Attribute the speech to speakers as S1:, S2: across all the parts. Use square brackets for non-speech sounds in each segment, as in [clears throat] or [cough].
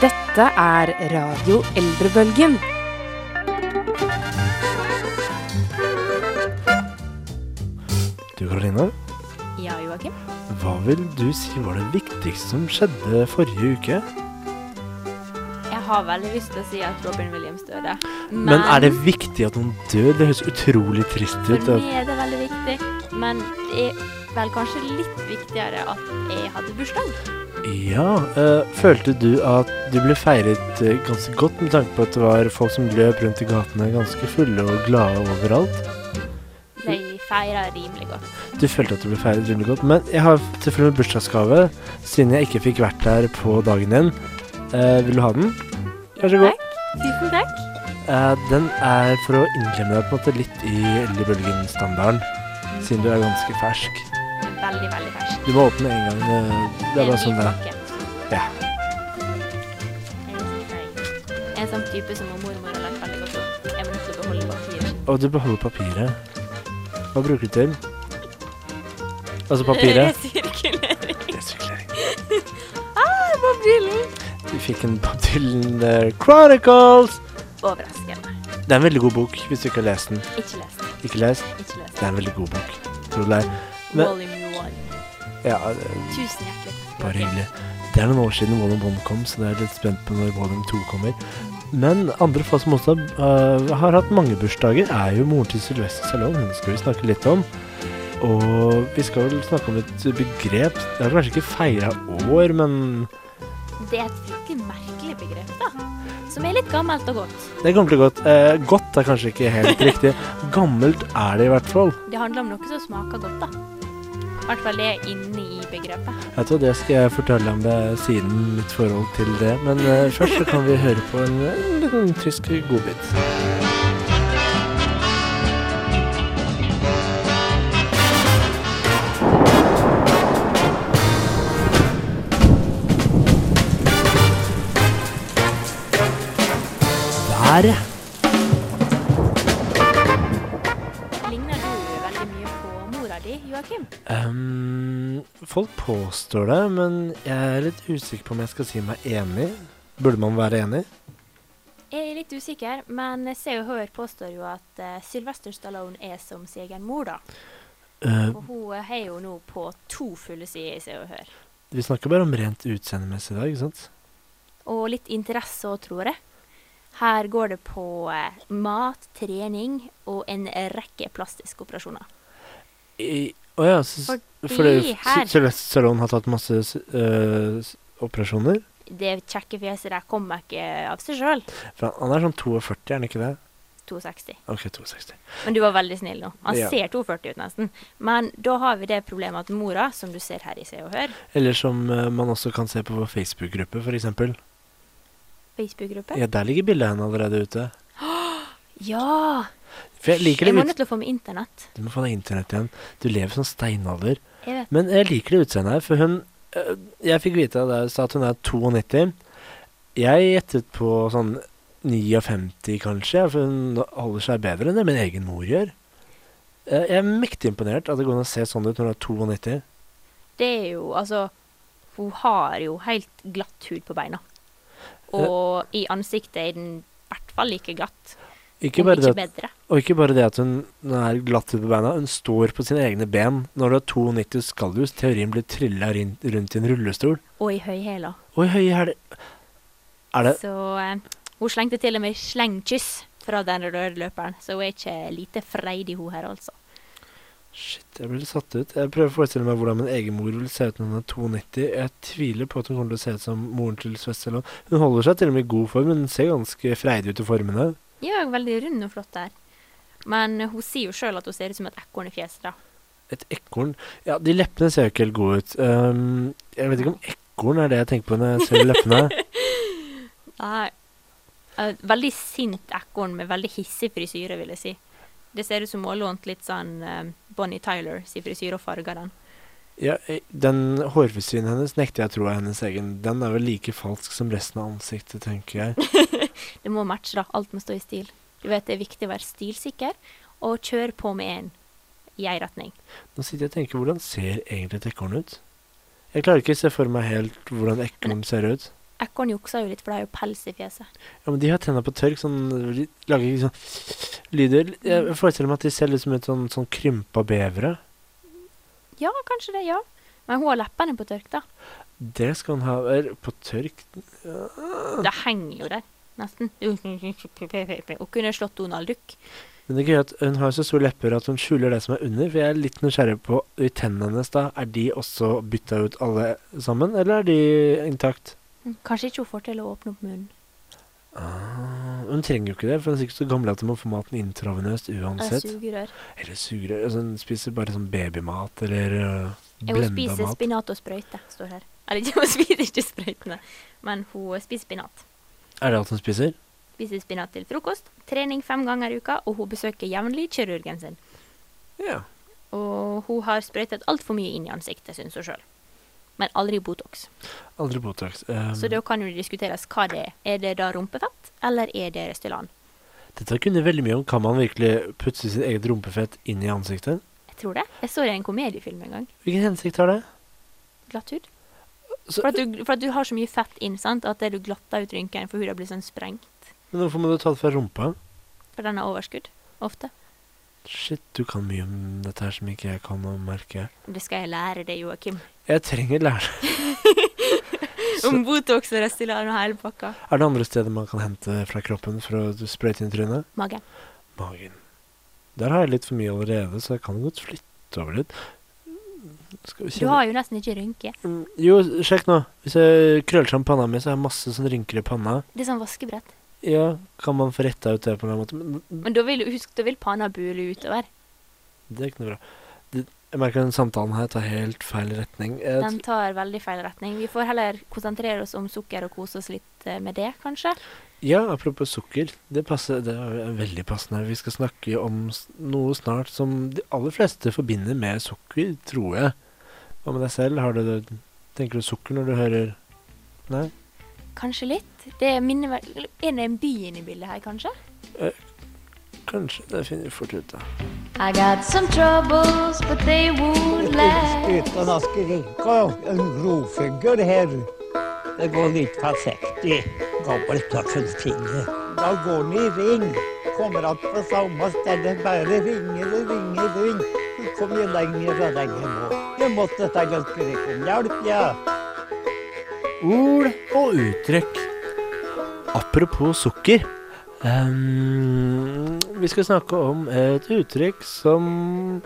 S1: Dette er Radio Eldrebølgen.
S2: Du Karoline,
S3: Ja, Joakim.
S2: hva vil du si var det viktigste som skjedde forrige uke?
S3: Jeg har veldig lyst til å si at Robin Williams døde.
S2: Men, er det viktig at noen dør? Det høres utrolig trist ut.
S3: For meg er det veldig viktig. Men det er vel kanskje litt viktigere at jeg hadde bursdag.
S2: Ja, eh, følte du at du ble feiret eh, ganske godt med tanke på at det var folk som løp rundt i gatene ganske fulle og glade overalt?
S3: De feira rimelig godt.
S2: Du følte at du ble feiret rimelig godt, men jeg har selvfølgelig bursdagsgave siden jeg ikke fikk vært der på dagen din. Eh, vil du ha den? Vær så god.
S3: Tusen takk.
S2: Eh, den er for å innlemme deg på en måte litt i Eldrebølgen-standarden, siden du er ganske fersk.
S3: Veldig, veldig fersk.
S2: Du må åpne en gang. eh, Det er bare sånn det er. Ja.
S3: Jeg er en sånn type som mormor har lagt veldig godt opp. Jeg må nødt til å beholde papiret.
S2: Og du beholder papiret. Hva bruker du til? Altså
S3: [laughs]
S2: papiret.
S3: Resirkulering.
S2: Resirkulering.
S3: Ah, Bob Dylan.
S2: Du fikk en Bob Dylan eh, Chronicles.
S3: Overraskende.
S2: Det er en veldig god bok hvis du ikke har lest den.
S3: Ikke les den.
S2: Ikke lest?
S3: Ikke les
S2: Det er en veldig god bok. Tror du det? er-
S3: den.
S2: Men-
S3: Volume one.
S2: Ja, det er
S3: Tusen hjertelig takk.
S2: bare hyggelig. Det er noen år siden Volume 1 kom, så jeg er litt spent på når Volume 2 kommer. Men andre folk som også eh, har hatt mange bursdager, er jo moren til Sylvester Stallone. Hun skal vi snakke litt om. Og vi skal vel snakke om et begrep Det er kanskje ikke feira år, men
S3: Det er et fryktelig merkelig begrep, da. Som er litt gammelt og godt.
S2: Det kommer til å godt. Eh, godt er kanskje ikke helt [laughs] riktig. Gammelt er det i hvert fall.
S3: Det handler om noe som smaker godt, da. I hvert fall det er inne i begrepet.
S2: Jeg tror det skal jeg fortelle om deg siden mitt forhold til det. Men eh, først så kan vi høre på en, eh, en liten tysk godbit. Været.
S3: Ligner du veldig mye på mora di, Joakim?
S2: Ehm, folk påstår det, men jeg er litt usikker på om jeg skal si meg enig. Burde man være enig?
S3: Jeg er litt usikker, men Se og Hør påstår jo at eh, Sylvester Stallone er som sin egen mor, da.
S2: Eh,
S3: Og hun eh, har jo nå på to fulle sider i Se og Hør.
S2: vi snakker bare om rent utseendemessig i dag, ikke sant?
S3: Og litt interesse òg, tror jeg. Her går det på eh, mat, trening og en rekke plastiske operasjoner.
S2: I- Å ja, så, s-
S3: Fordi
S2: fordi S-
S3: her-
S2: Sylvester Stallone har tatt masse s- eh, s- operasjoner?
S3: Det kjekke fjeset der kommer ikke av seg sjøl.
S2: For han, han er sånn 42, er han ikke det?
S3: 260.
S2: Ok, 62.
S3: Men du var veldig snill nå. Han
S2: Ja.
S3: ser 240 ut nesten. Men da har vi det problemet at mora, som du ser her i Se og Hør,
S2: Eller som eh, man også kan se på vår Facebook-gruppe, f.eks.
S3: Facebook-gruppe
S2: Ja, der ligger bildet av henne allerede ute.
S3: Ja!
S2: For jeg liker
S3: Jeg
S2: det
S3: må
S2: ut...
S3: nødt til å få med internett.
S2: Du må få deg internett igjen. Du lever som steinalder.
S3: Jeg vet.
S2: Men jeg liker det utseendet her, for hun øh, Jeg fikk vite da jeg sa at hun er 92. Jeg gjettet på sånn 59, kanskje, for hun holder seg bedre enn det min egen mor gjør. Eh, Jeg er mektig imponert at det går an å se sånn ut når hun er 92.
S3: Det er jo altså Hun har jo helt glatt hud på beina. Og i ansiktet er den i hvert fall like glatt.
S2: Ikke
S3: om
S2: bare det, at-
S3: bedre.
S2: og ikke bare det at hun er glatt ut på beina, hun står på sine egne ben. Når du er 92, skal du i teorien bli trilla rin- rundt i en rullestol.
S3: Og i høyhæla.
S2: Oi, høye hæler Er det
S3: Så eh, hun slengte til og med slengkyss fra den røde løperen, så hun er ikke lite freidig, hun her, altså.
S2: Shit, jeg blir satt ut. Jeg prøver å forestille meg hvordan min egen mor vil se ut når hun er 92. Jeg tviler på at hun kommer til å se ut som moren til Svesse eller noe. Hun holder seg til og med i god form, men hun ser ganske freidig ut i formene.
S3: Ja, veldig rund og flott der. Men hun sier jo sjøl at hun ser ut som et ekorn i fjeset, da.
S2: Et ekorn Ja, de leppene ser jo ikke helt gode ut. Ehm, jeg vet ikke om ekorn er det jeg tenker på når jeg ser leppene.
S3: Nei. Et veldig sint ekorn med veldig hissig frisyre, vil jeg si. Det ser ut som hun har lånt litt sånn eh, Bonnie Tyler sin frisyre og farga den.
S2: Ja, eh, den hårfrisyren hennes nekter jeg å tro er hennes egen. Den er vel like falsk som resten av ansiktet, tenker jeg.
S3: Det må matche, da. Alt må stå i stil. Du vet det er viktig å være stilsikker og kjøre på med en i ei retning.
S2: Nå sitter jeg og tenker, hvordan ser egentlig et ekorn ut? Jeg klarer ikke å se for meg helt hvordan ekorn ser ut.
S3: Ekorn jukser jo litt, for de har jo pels i fjeset.
S2: Ja, men de har tenna på tørk, sånn de Lager ikke sånn lyder.
S3: Mm.
S2: Jeg forestiller meg at de ser litt som et sånn, sånn krympa bevere.
S3: Ja, kanskje det, ja. Men hun har leppene på tørk, da.
S2: Det skal hun ha er, på tørk.
S3: Det henger jo der, nesten. [laughs] Hun kunne slått Donald Duck.
S2: Men det er gøy at hun har så store lepper at hun skjuler det som er under. For jeg er litt nysgjerrig på i tennene hennes, da. Er de også bytta ut alle sammen, eller er de intakt?
S3: Kanskje ikke hun får til å åpne opp munnen.
S2: Ah, hun trenger jo ikke det, for hun er sikkert så gammel at hun må få maten intravenøst
S3: Jeg
S2: uansett.
S3: sugerør.
S2: Eller sugerør. Altså, hun spiser bare sånn babymat eller uh,
S3: Ja, Hun
S2: blenda
S3: spiser
S2: mat.
S3: spinat og sprøyte, står her. Eller [laughs] ikke, hun spiser ikke sprøytene, men hun spiser spinat.
S2: Er det alt hun spiser?
S3: Spiser spinat til frokost, trening fem ganger i uka, og hun besøker jevnlig kirurgen sin.
S2: Ja.
S3: Og hun har sprøytet altfor mye inn i ansiktet, syns hun sjøl. Men aldri Botox.
S2: Aldri Botox. Um,
S3: Så da kan jo det diskuteres hva det er. Er det da rumpefett, eller er det Restylan?
S2: Dette kunne veldig mye om kan man virkelig putte sitt eget rumpefett inn i ansiktet.
S3: Jeg tror det. Jeg så det i en komediefilm en gang.
S2: Hvilken hensikt har det?
S3: Glatt hud.
S2: Så-
S3: For at, du, for at du har så mye fett inn, sant, at det du glatter ut rynkene, for huden blir sånn sprengt.
S2: Men hvorfor må du ta det fra rumpa?
S3: For den har overskudd, ofte.
S2: Shit, du kan mye om dette her som ikke jeg kan å merke.
S3: Det skal jeg lære deg, Joakim.
S2: Jeg trenger lærere. Så-
S3: Om Botox og Restylan og hele pakka.
S2: Er det andre steder man kan hente fra kroppen for å sprøyte inn i trynet?
S3: Magen.
S2: Magen. Der har jeg litt for mye allerede, så jeg kan godt flytte over litt. Skal vi
S3: Du
S2: se
S3: har jo nesten ikke rynke.
S2: Mm, Jo, sjekk nå. Hvis jeg krøller sammen panna mi, så har jeg masse sånne rynker i panna.
S3: Det er sånn vaskebrett.
S2: Ja, kan man få retta ut det på en eller annen måte? Men
S3: Men da vil, jo- husk, da vil panna bule utover.
S2: Det er ikke noe bra. Det, jeg merker den samtalen her tar helt feil retning. Eh, Jeg,
S3: Den tar veldig feil retning. Vi får heller konsentrere oss om sukker og kose oss litt eh, med det, kanskje.
S2: ja, apropos sukker. Det, passer, det er veldig passende. Vi skal snakke om s- noe snart som de aller fleste forbinder med sukker, tror jeg. Hva med deg selv? Har du, det- tenker du sukker når du hører Nei?
S3: Kanskje litt. Det minner vel Er det en by inne i bildet her, kanskje?
S2: Kanskje. Det finner vi fort ut av.
S4: I got some troubles, but they won't last.
S5: Utan att skrika en grovfigur här. Det går lite försiktigt. Gabbelt tar full finger. Då går ni i ring. Kommer att på samma ställe bara ringer och ringer och ringer. Du kommer ju längre och längre nå. Jag måste ta en skrik om hjälp, ja.
S2: Ord og uttrykk. Apropos sukker. Ehm, vi skal snakke om et uttrykk som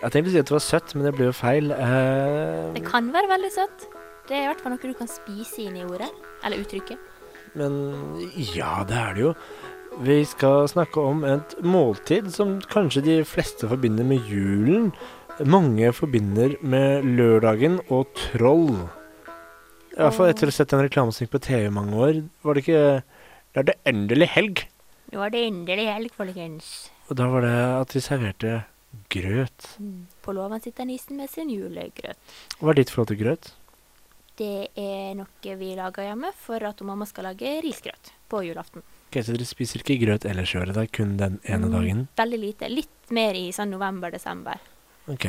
S2: Jeg tenkte å si at det var søtt, men det ble jo feil. Ehm,
S3: Det kan være veldig søtt. Det er i hvert fall noe du kan spise inn i ordet. Eller uttrykket.
S2: Men ja, det er det jo. Vi skal snakke om et måltid som kanskje de fleste forbinder med julen. Mange forbinder med lørdagen og troll. I hvert fall etter å ha sett en reklame som gikk på TV i mange år. Var det ikke Det er det endelig helg!
S3: Nå er det endelig helg, folkens.
S2: Og da var det at de serverte grøt.
S3: Mm. På låven sitter nissen med sin julegrøt.
S2: Hva er ditt forhold til grøt?
S3: Det er noe vi lager hjemme for at mamma skal lage risgrøt på julaften.
S2: Ok, Så dere spiser ikke grøt ellers i året? Det er kun den ene dagen?
S3: Veldig lite. Litt mer i sånn november-desember.
S2: Ok.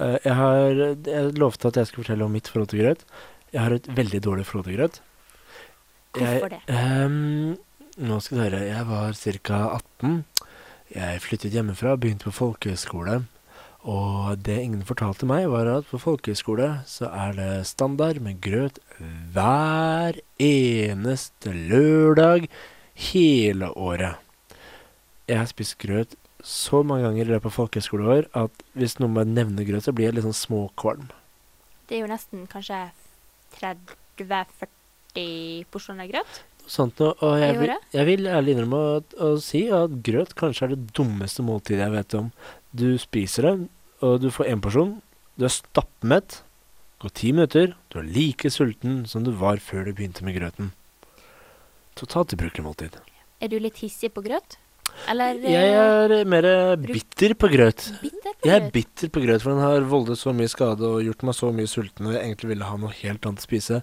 S2: Eh, Jeg har jeg lovte at jeg skulle fortelle om mitt forhold til grøt. Jeg har et veldig dårlig forhold til grøt.
S3: Hvorfor det?
S2: ehm, nå skal du høre. Jeg var ca. 18. Jeg flyttet hjemmefra, begynte på folkehøyskole. Og det ingen fortalte meg, var at på folkehøyskole så er det standard med grøt hver eneste lørdag hele året. Jeg har spist grøt så mange ganger i løpet av folkehøyskoleår at hvis noen bare nevner grøt, så blir jeg litt sånn småkvalm.
S3: Det er jo nesten kanskje 30-40 porsjoner grøt.
S2: Sånt noe, og jeg
S3: I
S2: vil,
S3: året?
S2: jeg vil ærlig innrømme å, å si at grøt kanskje er det dummeste måltidet jeg vet om. Du spiser det, og du får én porsjon. Du er stappmett. Går ti minutter. Du er like sulten som du var før du begynte med grøten. Totalt ubrukelig måltid.
S3: Er du litt hissig på grøt? Eller eh,
S2: Jeg er mer bitter på grøt.
S3: bitter på
S2: Jeg er
S3: grøt?
S2: bitter på grøt, for den har voldet så mye skade og gjort meg så mye sulten, og jeg egentlig ville ha noe helt annet å spise.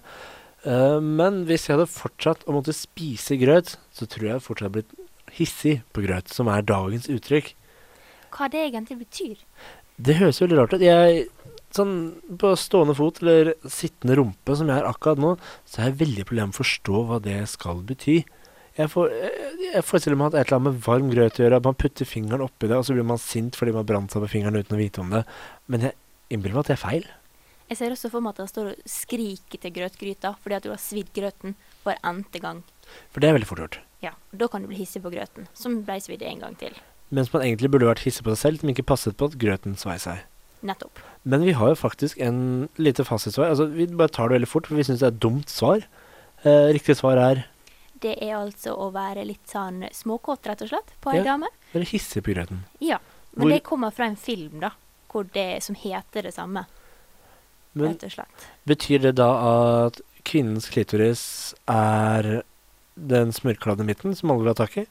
S2: Eh, men hvis jeg hadde fortsatt å måtte spise grøt, så tror jeg jeg fortsatt hadde blitt hissig på grøt, som er dagens uttrykk.
S3: Hva det egentlig betyr?
S2: Det høres veldig rart ut. Jeg sånn på stående fot eller sittende rumpe, som jeg er akkurat nå, så har jeg veldig problemer med å forstå hva det skal bety. Jeg, får, jeg, jeg forestiller meg at et eller annet med varm grøt å gjøre, at man putter fingeren oppi det, og så blir man sint fordi man brant seg på fingeren uten å vite om det. Men jeg innbiller meg at det er feil.
S3: Jeg ser også for meg at han står og skriker til grøtgryta fordi at du har svidd grøten for n-te gang.
S2: For det er veldig fort gjort.
S3: Ja, Da kan du bli hissig på grøten, som ble svidd en gang til.
S2: Mens man egentlig burde vært hissig på seg selv, men ikke passet på at grøten svei seg.
S3: Nettopp.
S2: Men vi har jo faktisk en lite fasitsvar. Altså, vi bare tar det veldig fort, for vi syns det er et dumt svar. Eh, riktig svar er
S3: Det er altså å være litt sånn småkåt, rett og slett, på ei
S2: Ja.
S3: dame.
S2: Eller hissig på grøten.
S3: Ja. Men
S2: Hvor-
S3: det kommer fra en film, da, hvor det, som heter det samme,
S2: Men
S3: rett og slett.
S2: betyr det da at kvinnens klitoris er den smørkladde midten som alle vil ha tak i?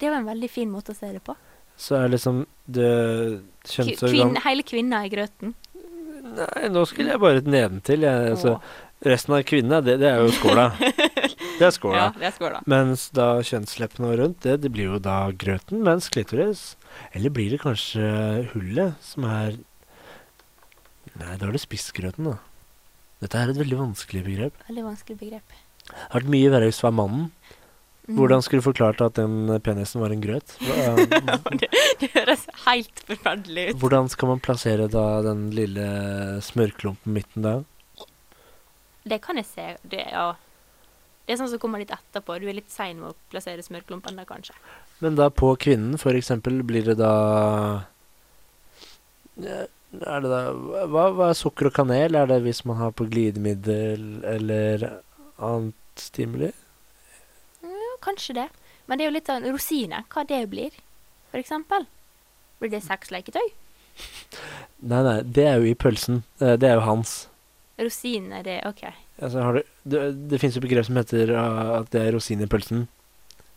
S3: Det var en veldig fin måte å se det på.
S2: Så er liksom det
S3: Kvi-
S2: kjønnsorgan
S3: kvinn- hele kvinna i grøten.
S2: Nei, nå skulle jeg bare nedentil. Jeg, altså,
S3: Åh.
S2: resten av kvinnene, det, det er jo
S3: [laughs]
S2: skåla. Det er skåla.
S3: Ja, det skal da.
S2: Mens da kjønnsleppene og rundt det, det blir jo da grøten, mens klitoris Eller blir det kanskje hullet, som er Nei, da er det spissgrøten, da. Dette er et veldig vanskelig begrep.
S3: Veldig vanskelig begrep.
S2: Det hadde vært mye verre hvis det var mannen.
S3: Mm.
S2: Hvordan skulle du forklart at den penisen var en grøt? Hva-
S3: [laughs] Det høres helt forferdelig ut.
S2: Hvordan skal man plassere da den lille smørklumpen midten da?
S3: Det kan jeg se. Det, ja. det er sånn som kommer litt etterpå. Du er litt sein med å plassere smørklumpene, kanskje.
S2: Men da på kvinnen, for eksempel, blir det da Ja, Er det da Hva, hva er sukker og kanel? Er det hvis man har på glidemiddel eller annet stimuli?
S3: Ja, kanskje det. Men det er jo litt sånn rosiner. Hva det blir, for eksempel. Blir det sexleketøy?
S2: Nei, nei, det er jo i pølsen. Eh, Det er jo hans.
S3: Rosiner, det OK.
S2: Altså, har du, det det fins jo begrep som heter ah, at det er rosin i pølsen.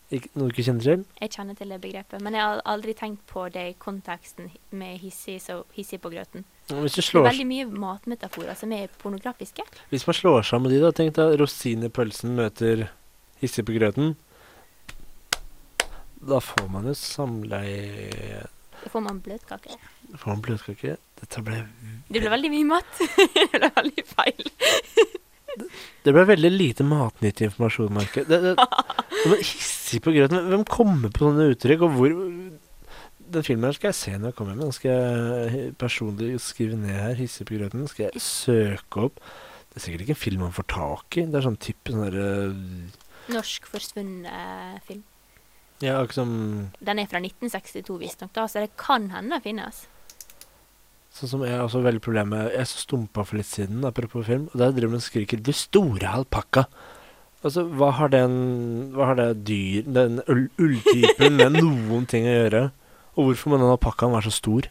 S2: Ikke, noe du ikke kjenner til?
S3: Jeg kjenner til det begrepet, men jeg har aldri tenkt på det i konteksten med hissig, så hissig på grøten.
S2: Hvis, du
S3: Det er
S2: slår,
S3: veldig mye matmetaforer som er pornografiske.
S2: hvis man slår sammen de, da Tenk da rosin i pølsen møter hissig på grøten. Da får man jo samleie
S3: Da får man bløtkake.
S2: Får man bløtkake? Dette ble
S3: Det ble veldig mye mat. [laughs] det ble veldig feil.
S2: Det ble veldig lite matnyttig informasjon, Marke. Det, det, det var hissig på grøten. Hvem kommer på sånne uttrykk, og hvor Den filmen her skal jeg se når jeg kommer hjem. Den skal jeg personlig skrive ned her. Hissig på grøten. Den skal jeg søke opp. Det er sikkert ikke en film man får tak i. Det er sånn type sånn derre
S3: Norsk forsvunnet film.
S2: Ja, akkurat som
S3: Den er fra 1962, visstnok, da, så det kan hende den finnes.
S2: Sånn som jeg har også veldig problemer med Jeg stumpa for litt siden, apropos film, og der driver de og skriker 'Du store alpakka'. Altså, hva har den Hva har det dyr Den ull- ulltypen med noen ting å gjøre? Og hvorfor må den alpakkaen være så stor?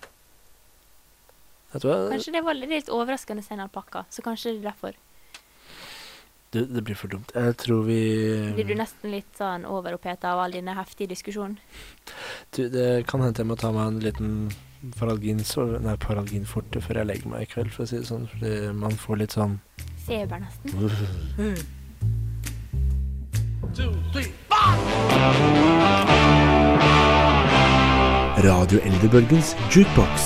S2: Vet du hva?
S3: Kanskje det var litt- litt overraskende å se en alpakka, så kanskje det er derfor.
S2: Det, det blir for dumt. Jeg tror
S3: Blir
S2: vi
S3: du nesten litt sånn overoppheta av all denne heftige diskusjonen?
S2: du, Det kan hende jeg må ta meg en liten Paralgin sov- Nei, paralgin forte før jeg legger meg i kveld, for å si det sånn. Fordi man får litt sånn
S3: Feber, nesten.
S6: Radio Eldrebølgens jukebox.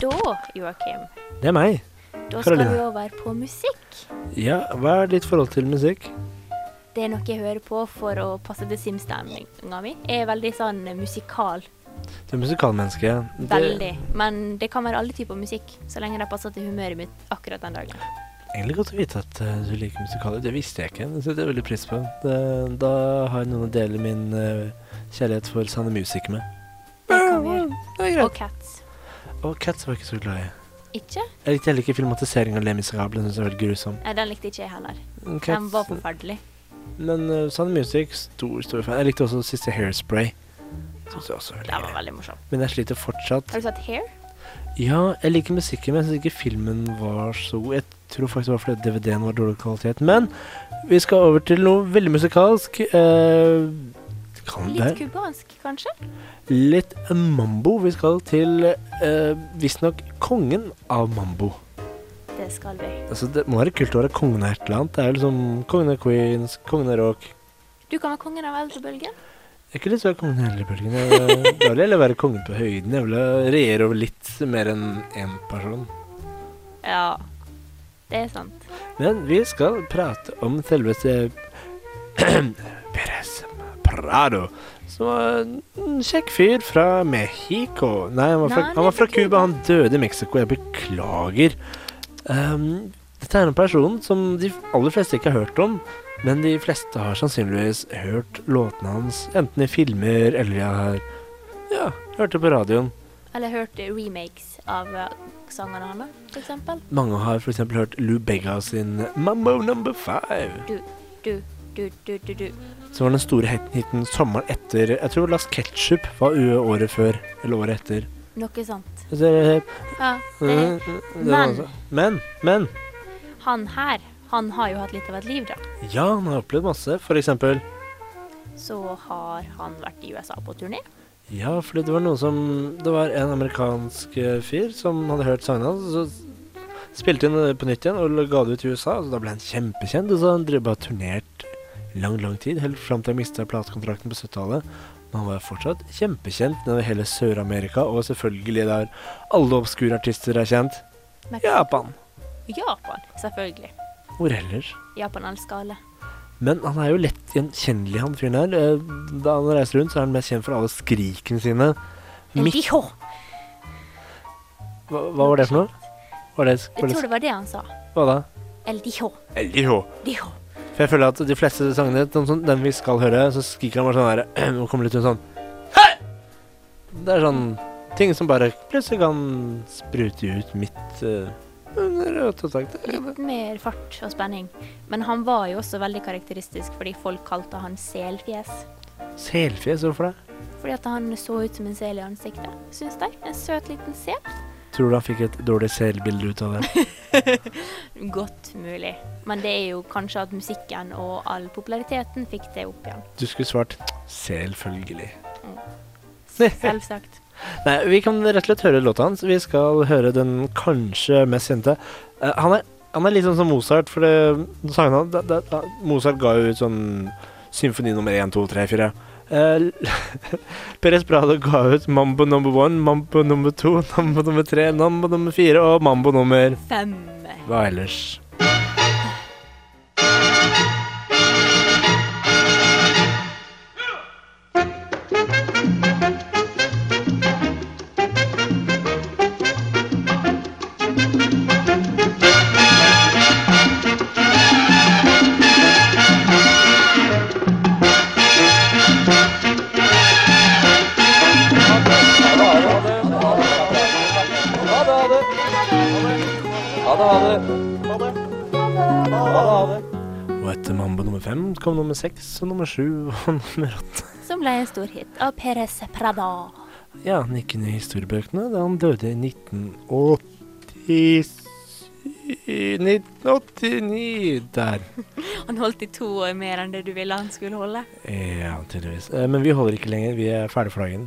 S3: Da, Joakim,
S2: Det er meg.
S3: da skal
S2: Karoline.
S3: vi over på musikk.
S2: Ja, hva er ditt forhold til musikk?
S3: Det er noe jeg hører på for å passe til Sims-stemninga mi. Jeg er veldig sånn musikal.
S2: Du er musikalmenneske. Det-
S3: Veldig. Men det kan være alle typer musikk, så lenge det passer til humøret mitt akkurat den dagen.
S2: Egentlig godt å vite at eh, du liker musikaler. Det visste jeg ikke. Det setter jeg veldig pris på. Det, da har jeg noen å dele min eh, kjærlighet for sanne musikere med.
S3: Det kan vi gjøre.
S2: Det er
S3: Og Cats.
S2: Og Cats var jeg ikke så glad i.
S3: Ikke?
S2: Jeg likte heller ikke filmatiseringen av Le Miserable. Den synes jeg var veldig grusom.
S3: Nei, den likte ikke jeg heller. Den var
S2: Cats,
S3: forferdelig.
S2: men uh, sanne musikk, stor, stor fan. Jeg likte også siste Hairspray. Synes jeg også var veldig
S3: Den var
S2: grei.
S3: veldig morsom.
S2: Men jeg sliter fortsatt.
S3: Har du sett Hair?
S2: Ja, jeg liker musikken, men jeg synes ikke filmen var så god. Jeg tror faktisk det var fordi DVD-en var dårlig kvalitet. Men vi skal over til noe veldig musikalsk. Eh, kan det?
S3: Litt cubansk, kanskje?
S2: Litt mambo. Vi skal til eh, visstnok kongen av mambo.
S3: Det skal vi.
S2: Altså, det må være kult å være kongen av et eller annet. Det er jo liksom kongen av queens, kongen av rock.
S3: Du kan være kongen av eldrebølgen.
S2: Jeg er ikke lyst til å være kongen i Eldrebølgen. Jeg- Da vil jeg heller være kongen på høyden. Jeg vil regjere over litt mer enn én person.
S3: Ja, det er sant.
S2: Men vi skal prate om selveste [clears throat] Perez Prado. Som var en kjekk fyr fra Mexico. Nei, han var fra,
S3: Nei,
S2: han var fra Cuba. Han døde i Mexico. Jeg beklager. Ehm, dette er en person som de aller fleste ikke har hørt om. Men de fleste har sannsynligvis hørt låtene hans, enten i filmer eller de har ja, hørt det på radioen.
S3: Eller jeg hørte remakes av eh, sangene hans, for eksempel.
S2: Mange har f.eks. hørt Lou Bega sin 'Mambo Number Five'.
S3: Du, du, du, du, du.
S2: Så var den store hiten- hiten sommeren etter Jeg tror Last Ketchup var u- året før. Eller året etter.
S3: Noe sånt.
S2: Så det-
S3: Ja,
S2: det-
S3: det
S2: det var altså- Men, men.
S3: Han her, han har jo hatt litt av et liv, da.
S2: Ja, han har opplevd masse. For eksempel
S3: Så har han vært i USA på turné.
S2: Ja, fordi det var noen som Det var en amerikansk eh, fyr som hadde hørt sangene hans, og så spilte han det på nytt igjen og ga det ut i USA, og da ble han kjempekjent. Og så har han drevet bare turnert i lang, lang tid, helt fram til han mista platekontrakten på 70-tallet. Men han var fortsatt kjempekjent nedover hele Sør-Amerika, og selvfølgelig der alle obskure artister er kjent.
S3: Men-
S2: Japan.
S3: Japan, selvfølgelig.
S2: Hvor ellers?
S3: Japan elsker alle.
S2: Men han er jo lett gjenkjennelig, han fyren her. Eh, Da han reiser rundt, så er han mest kjent for alle skrikene sine.
S3: El
S2: Midt
S3: Dijo!
S2: Hva, hva var det for noe? Var det, var
S3: Jeg
S2: det,
S3: tror det var det han sa.
S2: hva da?
S3: El Dijo.
S2: Eliho.
S3: Dijo.
S2: For jeg føler at de fleste sangene, den, som- den vi skal høre, så skriker han bare sånn her [clears throat] og kommer litt ut sånn Hei! Det er sånn ting som bare plutselig kan sprute ut midt eh, under øyetaket.
S3: Litt mer fart og spenning. Men han var jo også veldig karakteristisk fordi folk kalte han selfjes.
S2: Selfjes, hvorfor det?
S3: Fordi at han så ut som en sel i ansiktet, syns de. En søt liten sel.
S2: Tror du han fikk et dårlig selbilde ut av det?
S3: Godt mulig. Men det er jo kanskje at musikken og all populariteten fikk det opp igjen.
S2: Du skulle svart selvfølgelig.
S3: Selvsagt.
S2: Nei, vi kan rett og slett høre låta hans. Vi skal høre den kanskje mest kjente. Eh, han, er, han er litt sånn som Mozart, for det, sangene hans da- da- da- Mozart ga jo ut sånn symfoni nummer én, to, tre, fire. Uh, [laughs] Perez Prado ga ut Mambo number one, Mambo number two, Mambo nummer tre, Mambo nummer fire og Mambo nummer
S3: Fem.
S2: Hva ellers? Og etter Mambo nummer fem kom nummer seks og nummer sju og [laughs] nummer åtte.
S3: Som ble en stor hit av Perez Prada.
S2: Ja, han gikk inn i historiebøkene da han døde i 1987 1989 Der.
S3: Han holdt i to år mer enn det du ville han skulle holde.
S2: Ja, tydeligvis. Eh, Men vi holder ikke lenger. Vi er ferdig for dagen.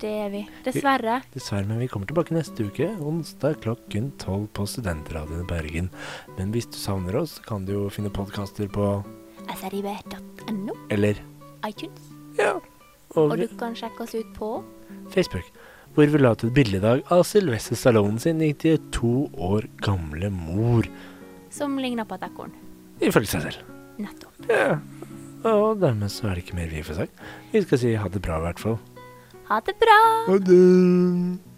S3: Det er vi. Dessverre.
S2: Dessverre, men vi kommer tilbake neste uke, onsdag klokken tolv på Studentradioen i Bergen. Men hvis du savner oss, kan du jo finne podkaster på
S3: srib.no,
S2: Eller
S3: iTunes.
S2: Ja.
S3: Og
S2: Og
S3: du kan sjekke oss ut på
S2: Facebook. Hvor vi la ut et bilde i dag av Sylvester Stallone sin 92 år gamle mor.
S3: Som ligner på et ekorn.
S2: Ifølge seg selv.
S3: Nettopp.
S2: Ja. Og dermed så er det ikke mer vi får sagt. Vi skal si ha det bra, i hvert fall.
S3: Ha det bra!
S2: Ha det.